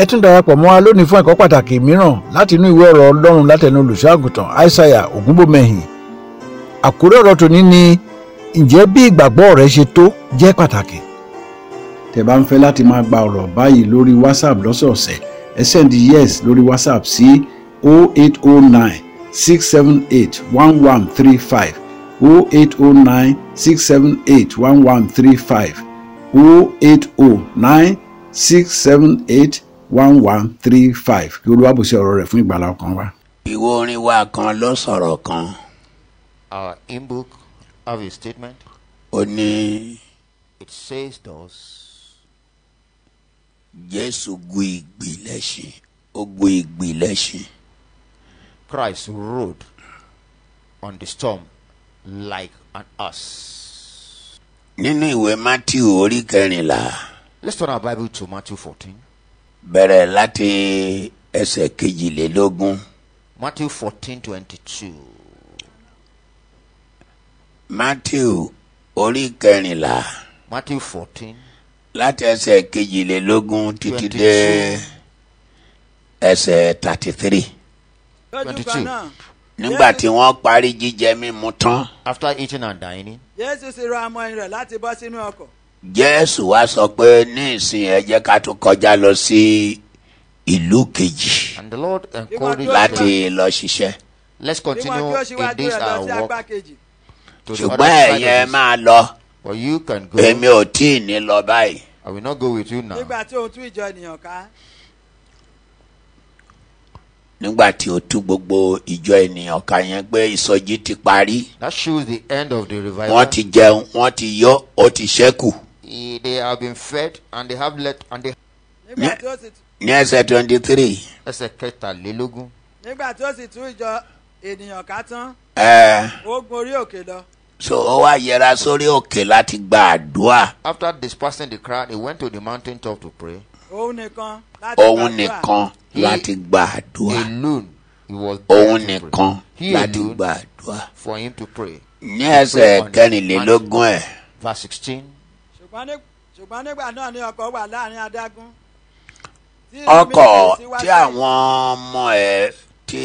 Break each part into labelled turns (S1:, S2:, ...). S1: ẹ tún darapọ̀ mọ́ wa lónìí fún ẹ̀kọ́ pàtàkì mìíràn láti inú ìwé ọ̀rọ̀ ọlọ́run látẹnu olùṣọ́àgùtàn aishaiya ògúnbòmẹ́hìn àkórí ọ̀rọ̀ tòní ni ǹjẹ́ bí ìgbàgbọ́ rẹ ṣe tó jẹ́ pàtàkì.
S2: tẹ́ bá ń fẹ́ láti máa gba ọ̀rọ̀ báyìí lórí whatsapp lọ́sọ̀ọ̀sẹ̀ ẹ send yes lórí whatsapp sí 0809 678 1135 0809 678 1135 0809 678 1135 kí olúwa bùsí ọ̀rọ̀ rẹ̀ fún ìgbàlá ọkàn wa.
S3: ìwé orin wa kan ló sọ̀rọ̀ kan
S4: Our hymn book have a statement.
S3: ó ní
S4: It says thus
S3: jésù gun ìgbì lẹ́ṣin ó gun ìgbì lẹ́ṣin
S4: Christ rode on the storm like an ass.
S3: nínú ìwé matthew orí kẹrìnlá
S4: Let's turn our Bible to Matthew 14.
S3: bẹ̀rẹ̀ láti ẹsẹ̀ kejìlélógún
S4: Matthew 14 22.
S3: matthew orí kẹrìnlá
S4: Matthew 14.
S3: láti ẹsẹ̀ kejìlélógún títí
S4: 22.
S3: dé ẹsẹ̀ thirty three
S4: 22.
S3: nígbà tí wọ́n parí jíjẹ mímu tán
S4: After eating and dining,
S5: jésù sì rọ àwọn ẹni rẹ̀ láti bọ́ sínú ọkọ̀
S3: jésù wá sọ pé ní ìsìn ẹ jẹ́ ká tún kọjá lọ sí ìlú kejì
S4: and the Lord encouraged
S5: That
S4: them,
S3: láti lọ ṣiṣẹ́
S4: Let's
S5: bí
S4: continue
S5: wọn kí ó ṣe wá
S4: in
S5: gbé
S4: this
S5: rẹ̀ lọ
S4: our
S5: sí apá
S4: walk
S5: kejì
S4: to the other
S3: ṣùgbọ́n
S4: side
S3: ẹ̀yin ẹ
S4: of this.
S3: máa lọ
S4: But you can go.
S3: èmi ò tí ì ní lọ báyìí
S4: I will not go with you now.
S5: nígbà tí òun tú ìjọ ènìyàn ká
S3: nígbà tí o tú gbogbo ìjọ ènìyàn ká yẹn pé ìsọjí ti parí
S4: That shows the end of the
S3: wọ́n
S4: revival.
S3: ti jẹun wọ́n ti yó ó ti ṣẹ́kù
S4: Eh, They have been fed and they have left and they
S5: nígbà
S3: Ní-
S5: tí ó sì
S3: ní ẹsẹ̀ twenty three
S4: ẹsẹ̀ kẹtàlélógún
S5: nígbà tí ó sì tú ìjọ ènìyàn ká tán
S3: ẹ̀ẹ́
S5: ó gun orí òkè lọ
S3: so ó wá yẹra sórí òkè láti gba àdúrà
S4: after dispersing the crowd he went to the mountain top to pray
S5: òun nìkan láti
S3: òun
S5: gbàdúrà.
S3: nìkan láti gba àdúrà
S4: alone he was there
S3: òun
S4: to pray.
S3: nìkan
S4: he
S3: láti
S4: alone
S3: gba àdúrà
S4: for him to pray
S3: ní ẹsẹ̀ kẹrìnlélógún ẹ̀
S4: verse sixteen
S5: ṣùgbọ́n ní- ṣùgbọ́n nígbà náà ni ọkọ̀ wà láàrin adágún Tí ìlú
S3: ọkọ̀
S5: méjèèjì sì wá
S3: tí
S5: sẹ́yìn.
S3: àwọn ọmọ ẹ̀ tí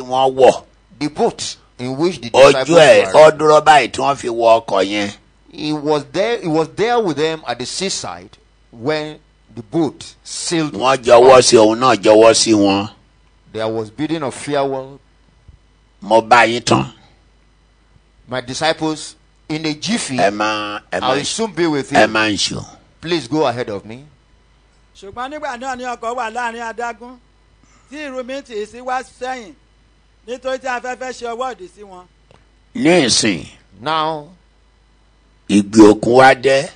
S3: wọ́n wọ̀
S4: the boat in which the
S3: ojú ẹ̀
S4: disciples
S3: ó
S4: were
S3: dúró báyìí tí wọ́n fi wọ ọkọ̀ yẹn
S4: he was there he was there with them at the seaside when the boat sailed
S3: wọ́n jọwọ́ sí òun náà jọwọ́ sí wọn
S4: there was bidding of farewell
S3: mo bá yín tán
S4: my disciples in a jiffy
S3: ẹ máa ẹ
S4: I
S3: máa
S4: will soon be with
S3: ẹ
S4: you
S3: máa ń ṣù
S4: please go ahead of me
S5: ṣùgbọ́n nígbà náà ni ọkọ̀ wà láàrin adágún tí ìrù mi tì í sí wá sẹ́yìn nítorí tí afẹ́fẹ́ ṣe ọwọ́ òdì sí wọn
S3: ní ìsìn
S4: now
S3: ìgbì òkun wá dé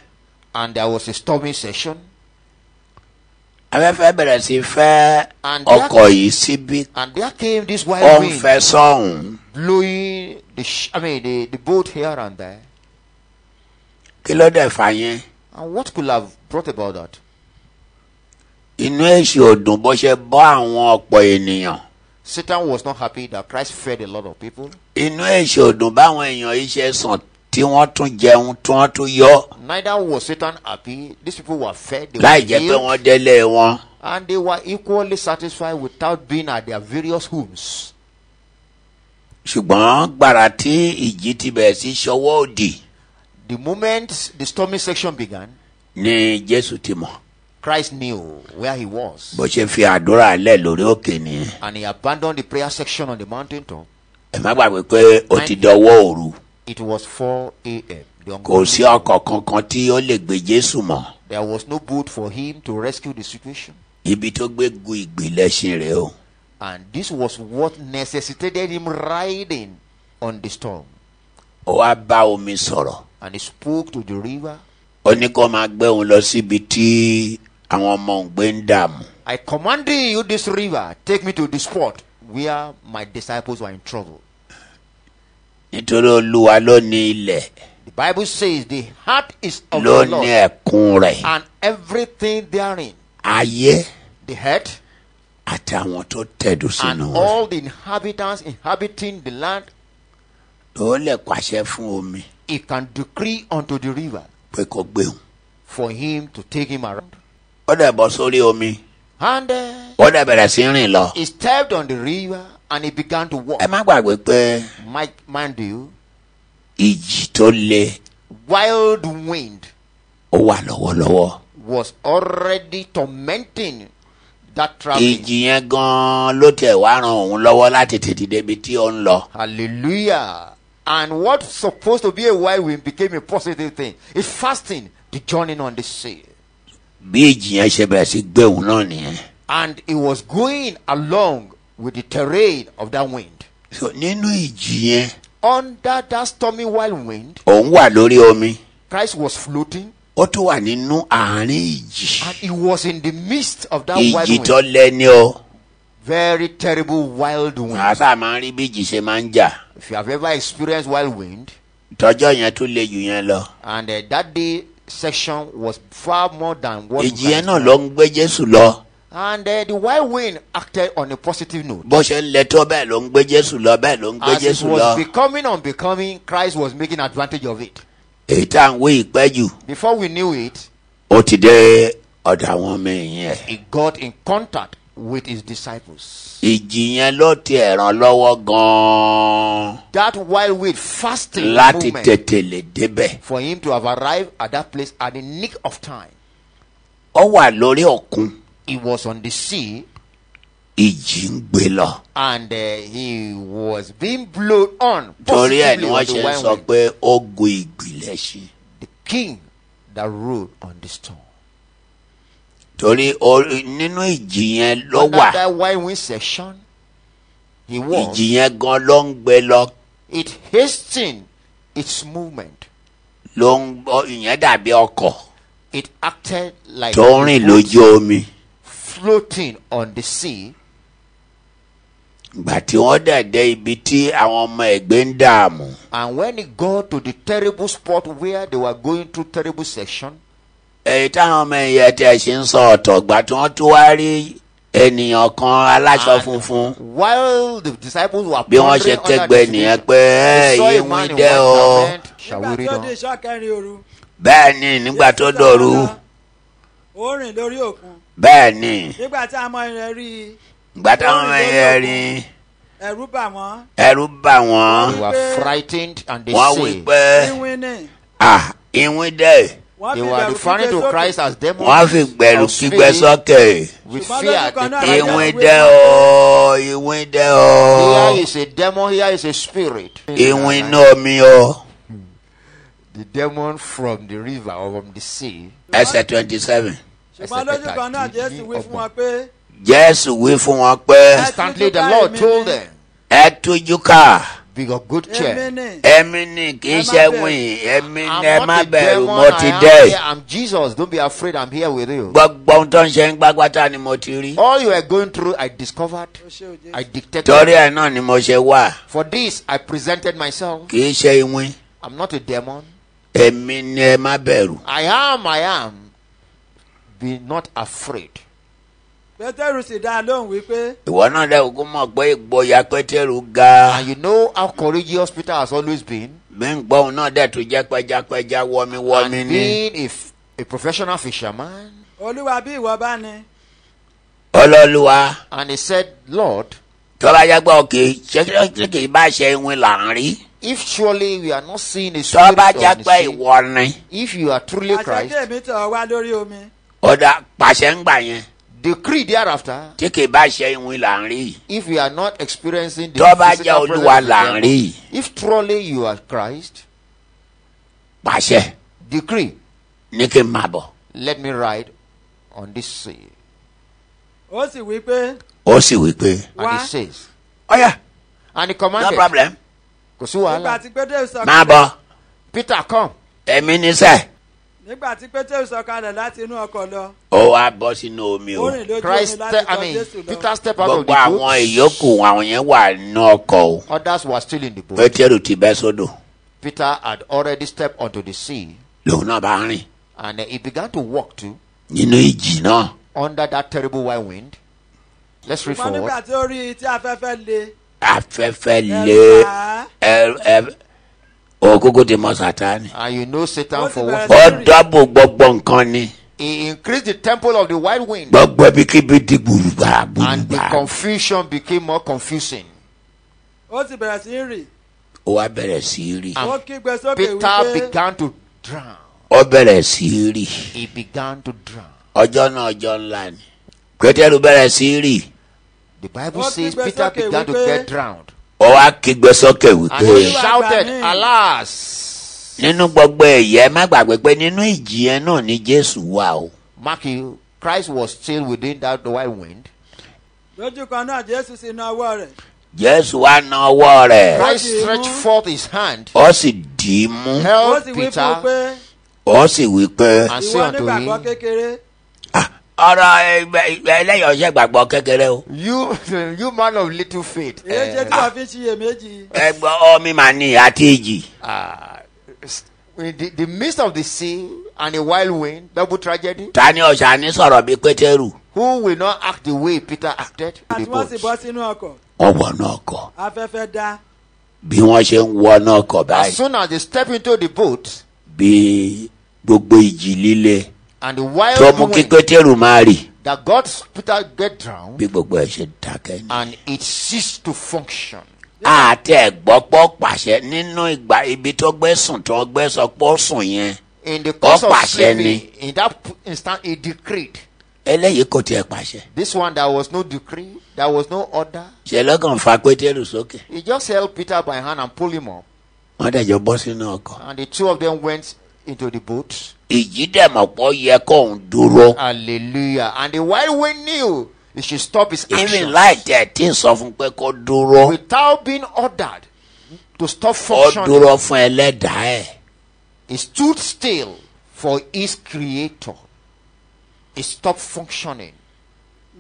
S4: and there was a stormy session
S3: afẹ́fẹ́ bẹ̀rẹ̀ sí fẹ́
S4: And
S3: ọkọ̀ yìí síbí
S4: and there came this
S3: ó ń
S4: wild wind
S3: fẹ́ sọ́hùn
S4: blowing the sh- I mean the, the boat here and there.
S3: kí ló dẹ̀ fà yẹn
S4: And what could have brought about that?
S3: inú èsì òdùn bó ṣe bọ́ àwọn ọ̀pọ̀ ènìyàn
S4: Satan was not happy that Christ fed a lot of people.
S3: inú èsì òdùn báwọn èèyàn yìí ṣe sàn tí wọ́n tún jẹun tí wọ́n tún yọ
S4: Neither was Satan happy. These people were fed, they
S3: láì
S4: were
S3: jẹ́ pé
S4: healed,
S3: wọ́n délé wọn
S4: and they were equally satisfied without being at their various homes.
S3: ṣùgbọ́n gbàrà tí ìjì ti bẹ̀rẹ̀ sí ṣọwọ́ òdì
S4: The moment the stormy section began,
S3: ni jésù ti mọ̀
S4: Christ knew where he was,
S3: bó ṣe fi àdúrà lẹ̀ lórí òkè nìyẹn
S4: and he abandoned the prayer section on the mountaintop.
S3: ẹ má gbàgbé pé ó ti dọwọ́ òru
S4: It was 4 a.m. the
S3: kò sí
S4: ungodly hour.
S3: ọkọ̀ kankan tí ó lè gbé jésù mọ̀
S4: There was no boat for him to rescue the situation.
S3: ibi tó gbé gu ìgbìlẹ̀ṣin rẹ̀ o
S4: And this was what necessitated him riding on the storm.
S3: ó wá bá omi sọ̀rọ̀
S4: And he spoke to the river.
S3: ó ní kó máa gbé òun lọ síbi tí àwọn ọmọ òun gbé ń dààmú
S4: I command you, this river, take me to the spot where my disciples were in trouble.
S3: nítorí olúwa ló ní ilẹ̀
S4: The Bible says the heart is of
S3: ló
S4: the
S3: ní
S4: Lord
S3: ẹ̀kún rẹ̀
S4: and everything therein,
S3: ayé
S4: the head
S3: àtàwọn tó tẹ̀dó
S4: and
S3: sínú rẹ̀
S4: all the inhabitants inhabiting the land.
S3: ó lè pàṣẹ fún omi
S4: He can decree unto the river
S3: pé kó gbé òun
S4: for him to take him around.
S3: ó dẹ̀ bọ́ sórí omi
S4: and uh,
S3: ó dẹ̀ bẹ̀rẹ̀ sí rìn lọ.
S4: he stepped on the river and he began to walk.
S3: ẹ má gbàgbé pé
S4: Mind, mind you,
S3: ìjì tó le
S4: wild wind
S3: ó wà lọ́wọ́lọ́wọ́.
S4: was already tormenting that traveling.
S3: ìjì yẹn gan-an ló tiẹ̀ wá ran òun lọ́wọ́ láti tètè débi tí ó ń lọ.
S4: Hallelujah. And what's supposed to be a wild wind became a positive thing. It's fasting, the journey on the sea.
S3: bí ìjì yẹn ṣe bẹ̀rẹ̀ sí gbé òun náà nìyẹn.
S4: And it was going along with the terrain of that wind.
S3: So, nínú ìjì yẹn
S4: Under that stormy wild wind,
S3: òun wà lórí omi
S4: Christ was floating
S3: ó tún wà nínú àárín ìjì.
S4: and he was in the midst of that wild
S3: ìjì
S4: wind.
S3: tó lẹ ni o.
S4: Very terrible wild wind.
S3: àá sáà máa ń rí bí ìjì ṣe máa ń jà.
S4: If you have ever experienced wild wind,
S3: tọjọ́ yẹn tún le jù yẹn lọ.
S4: and uh, that day section was far more than what
S3: ìjì
S4: Christ
S3: yẹn náà
S4: did.
S3: ló ń gbé jésù lọ.
S4: And uh, the wild wind acted on a positive note.
S3: bó ṣe ń le tó bẹ́ẹ̀ ló ń gbé jésù lọ bẹ́ẹ̀ ló ń gbé
S4: As it
S3: jésù
S4: was
S3: lọ.
S4: becoming unbecoming, Christ was making advantage of it.
S3: èyí tá à ń wé ìpẹ́ jù.
S4: Before we knew it,
S3: ó ti dé ọ̀dọ̀ àwọn ọmọ ẹ̀yìn ẹ̀.
S4: he got in contact with his disciples.
S3: ìjì yẹn ló ti ẹ̀ràn lọ́wọ́ gan-an
S4: That wild wind fasting
S3: láti
S4: moment
S3: tètè lè débẹ̀.
S4: for him to have arrived at that place at the nick of time.
S3: ó wà lórí òkun
S4: He was on the sea
S3: ìjì ń gbé lọ.
S4: and uh, he was being blown on.
S3: torí ẹ̀ ni
S4: positively
S3: wọ́n
S4: on the
S3: ṣe ń
S4: wild
S3: sọ
S4: wind.
S3: pé ó gun ìgbìlẹ̀ṣin.
S4: the king that ruled on the storm.
S3: torí ó- nínú ìjì yẹn ló
S4: Under
S3: wà
S4: that wide wind section, he was.
S3: ìjì yẹn gan ló ń gbé lọ
S4: It hastened its movement.
S3: ló ń ó- ìyẹn dàbí ọkọ̀
S4: It acted like
S3: tó ń rìn
S4: a boat
S3: lójú omi.
S4: floating on the sea.
S3: ìgbà tí wọ́n dẹ̀ dé ibi tí àwọn ọmọ ẹ̀gbẹ́ ń dààmú
S4: And when it got to the terrible spot where they were going through terrible section,
S3: èyí táwọn ọmọ ẹ̀yẹ tẹ̀ ṣe ń sọ ọ̀tọ̀ ìgbà tí wọ́n tún wá rí ènìyàn kan aláṣọ
S4: And-
S3: funfun.
S4: while the disciples were
S3: bí Ah. wọ́n ṣe
S4: pondering under
S3: kẹ́gbẹ́
S4: the
S3: nìyẹn
S4: situation,
S3: pé ẹ
S4: they saw a
S3: yín wí
S4: man in
S3: dẹ́
S4: white
S3: o.
S4: garment. Shall
S5: nígbà
S4: we read
S5: tó di
S4: on?
S5: iṣọ́ kẹrin òru.
S3: bẹ́ẹ̀ ni nígbà tó
S5: Jésù
S3: dòru
S5: sọ̀rọ̀ lọ, ó rìn lórí òkun
S3: bẹ́ẹ̀ ni
S5: nígbà tí àwọn ọmọ rẹ̀ rí i
S3: ìgbà táwọn ọmọ ẹ̀yẹ rí
S5: ẹ̀rú bà wọ́n
S3: ẹ̀rú bà wọ́n
S4: They were frightened and they
S3: wọ́n wí
S4: say
S3: pé
S5: wíwí nì
S3: à ìwín dẹ̀
S5: wọ́n
S4: they
S5: fi
S4: were
S5: bẹ̀rù kígbe
S4: referring to
S5: sókè.
S4: Christ as demons.
S3: wọ́n fi gbẹ̀rù
S4: of
S3: kígbẹ́
S4: spirit
S3: sókè
S4: With
S5: Ṣùgbọ́n
S4: fear,
S5: lójú kan
S4: they came.
S5: náà
S3: ìwín dẹ́ o ìwín dẹ́ o
S4: Here is a demon, here is a spirit.
S3: ìwín inú omi o
S4: The demon from the river or from the sea.
S3: ẹsẹ̀ twenty seven
S5: ṣùgbọ́n lójú kan náà jésù wí fún wọn pé
S3: jésù wí fún wọn pé
S4: Instantly the Lord told them,
S3: ẹ tújú ká
S4: Be of good
S5: èmi
S4: cheer.
S5: nì
S3: ẹ̀mí ni kì í ṣe
S5: Ẹ má bẹ̀rù.
S3: wìn ẹ̀mí
S4: I'm
S3: ni ẹ má
S4: not the
S3: bẹ̀rù
S4: demon,
S3: mo
S4: I
S3: ti
S4: am
S3: dé.
S4: here. I'm Jesus. Don't be afraid. I'm here with you.
S3: gbogbo ohun tó ń ṣe ń gbágbátá ni mo ti rí.
S4: All you are going through, I discovered.
S5: ó ṣe òjé
S4: I
S3: torí
S4: detected.
S3: ẹ náà ni mo ṣe wà
S4: For this, I presented myself.
S3: kì í ṣe iwin
S4: I'm not a demon.
S3: èmi ni ẹ má bẹ̀rù.
S4: I am, I am. Be not afraid.
S5: pétérù sì dá a lóhùn wípé
S3: ìwọ náà lẹ kúkú mọ̀ pé ìgboyà pétérù ga
S4: And you know how courageous Peter has always been.
S3: mi ń gbọ́ òun náà dẹ̀ tó jẹ́ pẹjapẹja wọmiwọmi
S4: And
S3: ni.
S4: being a, f- a professional fisherman.
S5: olúwa bí ìwọ bá ní
S3: ọlọ́luwa
S4: And he said, Lord,
S3: tọ́ba yàgbọ́ òkè ṣé kì í bá ṣe iwin là ń rí.
S4: if surely we are not seeing a spirit
S3: tọ́ba
S4: on the
S3: jápẹ́
S4: sea,
S3: ìwọ ni
S4: if you are truly
S5: àṣẹ kí
S4: Christ,
S5: èmi tọ̀ ọ́ wá lórí omi
S3: ọ̀dà pàṣẹ ń gbà yẹn
S4: decree thereafter,
S3: tí kì í bá ṣe iwin là ń rí.
S4: if we are not experiencing the
S3: tọ́ba jẹ́
S4: physical presence
S3: olúwa
S4: of the
S3: là ń
S4: devil,
S3: rí
S4: if truly you are Christ,
S3: pàṣẹ
S4: decree,
S3: ní kí n máa bọ̀.
S4: let me ride on this sea.
S5: ó sì wí pé
S3: ó sì wí pé
S4: And
S5: wá
S4: he says,
S3: ọ̀yà
S4: and he
S3: no
S4: commanded,
S3: problem
S4: kò sí
S5: nígbà
S4: wàhálà,
S5: tí pétérù sọ
S3: máa bọ̀.
S4: Peter come.
S3: ẹ̀mí nísẹ̀
S5: nígbà tí pétérù sọ kalẹ̀ láti inú ọkọ̀ lọ
S3: ó wá bọ́ sínú omi
S5: ó
S3: o.
S5: rìn lójú omi
S4: Oh, Christ,
S5: láti
S4: ste- I
S5: tọ̀
S4: mean,
S5: jésù lọ
S4: Peter stepped out of
S3: gbogbo
S4: the
S3: àwọn
S4: boat.
S3: ìyókù àwọn yẹn wà nínú ọkọ̀ o.
S4: Others were still in the boat.
S3: pétérù ti bẹ́ sódò
S4: Peter had already stepped onto the sea,
S3: lòun náà bá rìn
S4: and he began to walk too.
S3: nínú ìjì náà.
S4: under that terrible wild wind. Let's read
S5: ṣùgbọ́n
S4: forward.
S5: nígbà tí ó rí i tí afẹ́fẹ́ le
S3: afẹ́fẹ́
S5: ẹ̀rù
S3: lé
S5: bà á
S3: ẹ- ẹ- òkúkú ti mọ sátani.
S4: And you know Satan
S5: What's
S4: for
S5: the
S4: what?
S5: matter?
S3: ó dọ́bù gbogbo nǹkan ni
S4: He increased the temple of the wild wind,
S3: gbogbo ibikíbi di gbùrùgbà
S4: and the
S3: gbùrùgbà
S4: confusion became more confusing.
S5: ó sì bẹ̀rẹ̀ sí í rì
S3: ó wá bẹ̀rẹ̀ sí í rì
S5: ó kígbe sókè
S4: Peter
S5: wípé
S4: began to drown.
S3: ó bẹ̀rẹ̀ sí í rì
S4: He began to drown.
S3: ọjọ́ náà ọjọ́ ńlá ni pétérù bẹ̀rẹ̀ sí í rì
S4: The Bible
S5: What
S4: says
S5: did they
S4: Peter
S5: say,
S4: began to
S5: Kewipe?
S4: get drowned.
S3: ó wá kígbe sókè
S4: And
S3: wípé
S4: he
S5: Yeah.
S4: shouted,
S5: Amen.
S4: Alas!
S3: nínú gbogbo ẹ̀yẹ má gbàgbé pé nínú ìjì yẹn náà ni jésù wà o
S4: Mark, you, Christ was still within that whirlwind.
S5: lójú kan náà jésù sì na ọwọ́ rẹ̀
S3: jésù wá na ọwọ́ rẹ̀
S4: Christ
S5: did
S4: stretched
S5: you-
S4: forth his hand,
S3: ó sì dì í mú
S5: ó
S4: held
S5: sì wí fún un pé
S4: Peter,
S3: ó sì wí pé
S4: and
S5: ìwọ
S4: said unto
S5: nígbàgbọ́
S4: him,
S5: kékeré
S3: "Ah, ọ̀rọ̀ ẹgbẹ́- ẹgbẹ́ ẹlẹ́yìn ọ̀sẹ̀ gbàgbọ́ kékeré o
S4: you, you man of little faith.
S5: èyí ṣe
S4: eh,
S5: tí wọ́n fi ń ṣiyèméjì
S3: ẹgbọ́ omi mà ní àti ìjì
S4: ah, s- in the, the midst of the sea and a whirlwind, double tragedy,
S3: ta ni ọ̀sà ní sọ̀rọ̀ bíi pétérù
S4: who will not act the way Peter acted? with
S5: àti
S4: the
S5: wọ́n sì
S4: boats?
S5: bọ́ sínú ọkọ̀
S3: wọ́n wọnú ọkọ̀
S5: afẹ́fẹ́ dá
S3: bí wọ́n ṣe ń wọnú ọkọ̀
S4: As
S3: báyìí
S4: soon as they step into the boat
S3: bí gbogbo ìjì líle
S4: and the
S3: tó mú
S4: wild
S3: kí
S4: wind
S3: pétérù máa rì
S4: that got Peter get drowned
S3: bí gbogbo ẹ̀ ṣe ń dákẹ́ ni.
S4: and it ceased to function.
S3: àti ẹ̀gbọ́pọ̀ pàṣẹ nínú ìgbà ibi tó gbé sùn tó gbé sọ pọ̀ sùn yẹn
S4: In the course of
S3: Ọ̀pàṣẹ
S4: sleeping,
S3: ni.
S4: in that p- instant, he decreed.
S3: eléyìí kò tiẹ̀ pàṣẹ
S4: This one, there was no decree, there was no order.
S3: ṣe lọ́gàn fa pétérù sókè
S4: He just held Peter by hand and pulled him up,
S3: wọ́n dẹ̀jọ́ bọ́ sínú ọkọ̀
S4: and the two of them went into the boat.
S3: ìjì dẹ̀mọ̀pọ̀ yẹ kóun dúró
S4: Hallelujah! And the wild wind knew he should stop his
S3: even
S4: action
S3: láì tẹ̀ tí ń sọ fún pé kó dúró
S4: without being ordered to stop
S3: ó
S4: functioning.
S3: dúró fún ẹlẹ́dàá ẹ̀
S4: He stood still for his creator. He stopped functioning.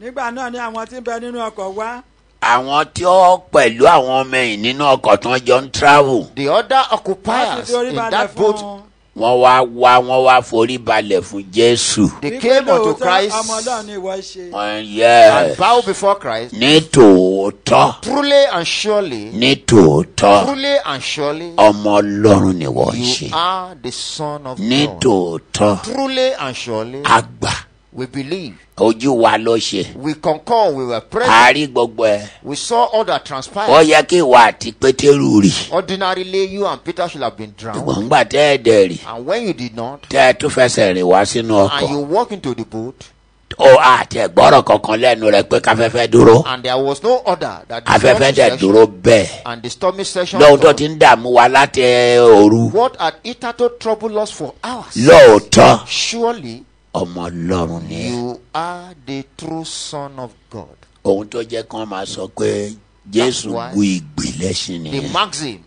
S5: nígbà náà ni àwọn tí ń bẹ nínú ọkọ̀ wá
S3: àwọn tí ó pẹ̀lú àwọn ọmọ ẹ̀yìn nínú ọkọ̀ tí wọ́n jọ ń travel
S4: The other
S5: wọ́n sì
S4: occupiers
S5: fi orí
S4: in
S5: balẹ̀
S4: that
S5: fún
S4: boat,
S5: un
S3: wọ́n wá wá wọ́n wá forí balẹ̀ fún jésù
S4: they
S5: wípé
S4: came unto
S5: lóòótọ́ ọmọ
S4: Christ
S5: ọlọ́run ni ìwọ ṣe
S3: wọ́n
S4: and
S3: yẹ
S4: bowed before Christ.
S3: ní tòótọ́
S4: Truly and surely,
S3: ní tòótọ́.
S4: truly and surely,
S3: ọmọ ọlọ́run ni wọ́n ń ṣe
S4: you are the Son of
S3: ní
S4: God.
S3: tòótọ́
S4: Truly and surely,
S3: àgbà
S4: we believe.
S3: ojú wa ló ṣe
S4: We concur, we were
S3: a
S4: present.
S3: rí gbogbo ẹ
S4: We saw all that
S3: ó
S4: transpired.
S3: yẹ kí ìwà àti pétérù rì
S4: Ordinarily, you and Peter should have been drowned.
S3: ṣùgbọ́n ńgbà tẹ́ ẹ dẹ̀ rì
S4: And when you did not,
S3: tẹ́ ẹ tún fẹsẹ̀ rìn wá sínú ọkọ̀
S4: and you walk into the boat,
S3: ó àti ẹ̀gbọ́rọ̀ kankan lẹ́nu rẹ̀ pé káfẹ́fẹ́ dúró
S4: and there was no order that the
S3: afẹ́fẹ́
S4: stormy
S3: dẹ̀
S4: session-
S3: dúró bẹ́ẹ̀
S4: and the stormy session
S3: lóhun tó
S4: thought,
S3: ti ń dààmú wa láti ẹ, òru
S4: what had hitherto troubled us for hours
S3: lóòótọ́
S4: surely
S3: ọmọ ọlọ́run ni ẹ́.
S4: you are the true son of god
S3: ohun tó jẹ́ kán máa sọ pé jésù
S4: That's why-
S3: gu ìgbì lẹ́sìn
S4: the
S3: nìyẹn
S4: maxim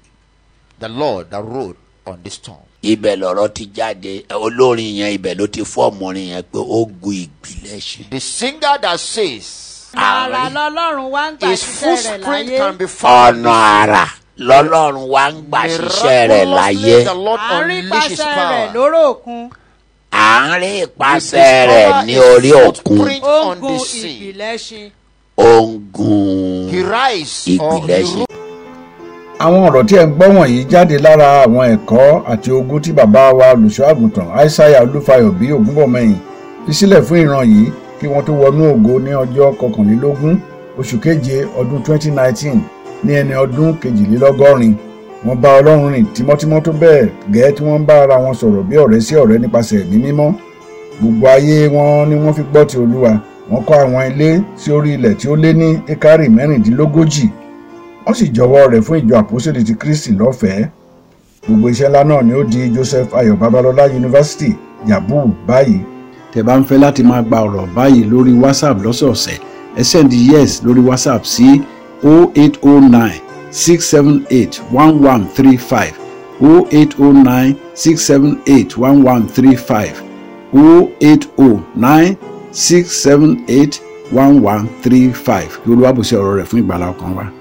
S4: the lord that rode on the storm
S3: ibẹ̀ lọ̀rọ̀ ti jáde olórin yẹn ibẹ̀ ló ti fọ́ọ̀mù orin yẹn pé ó gu ìgbìlẹ̀ṣẹ̀.
S4: the singer that says
S6: Àrà lọ́lọ́run wá ń gbà
S4: his
S6: ṣiṣẹ́ rẹ̀
S4: footprint
S6: láyé.
S4: can be found
S3: ọ̀nà àrà lọ́lọ́run wá ń gbà ṣiṣẹ́ rẹ̀ láyé
S4: Miraculously, the lord
S6: À ń rí
S4: unleashes his
S6: pàṣẹ rẹ̀
S4: power
S6: lóró òkun.
S3: à ń rí ìpàṣẹ rẹ̀ ní orí òkun
S4: footprint
S6: Ó
S4: on the
S6: gun
S4: sea
S6: ìbìlẹ̀ṣin.
S3: ó ń gun
S4: he rise or he
S3: ìgbìlẹ̀ṣẹ̀.
S1: àwọn ọ̀rọ̀ tí ẹ̀ ń gbọ́ wọ̀nyí jáde lára àwọn ẹ̀kọ́ àti ogún tí bàbá wa olùṣọ́ àgùntàn aishaiya olúfayọ bí ògúnbọ̀mọyìn fi sílẹ̀ fún ìran yìí kí wọ́n tó wọnú ògo ní ọjọ́ kọkànlélógún oṣù keje ọdún 2019 ní ẹni ọdún kejìlélọ́gọ́rin wọ́n bá ọlọ́run rìn tímọ́tímọ́ tó bẹ́ẹ̀ gẹ́ẹ́ tí wọ́n bá ara wọn sọ̀rọ̀ bí ọ̀rẹ́ sí ọ̀rẹ́ nípasẹ̀ ẹ̀mí mímọ́ gbogbo ayé wọn ni wọ́n fi gbọ́ ti olúwa wọ́n kọ́ àwọn ilé sí orí ilẹ̀ tí ó lé ní ekari mẹ́rìndínlógójì wọ́n sì jọ̀wọ́ rẹ̀ fún ìjọ àpòsílẹ̀ ti kristi lọ́fẹ̀ẹ́ gbogbo iṣẹ́ ńlá náà ni ó di joseph ayọ̀ babalọ́lá yunifásitì yabu báyìí
S2: tẹ́ bá ń fẹ́ láti máa gba ọ̀rọ̀ báyìí lórí whatsapp lọ́sọ̀ọ̀sẹ̀ ẹ send yes lórí whatsapp sí 0809 678 1135 0809 678 1135 0809 678 1135 kí olúwàbùsẹ̀ ọ̀rọ̀ rẹ̀ fún ìgbàlá ọkàn wa.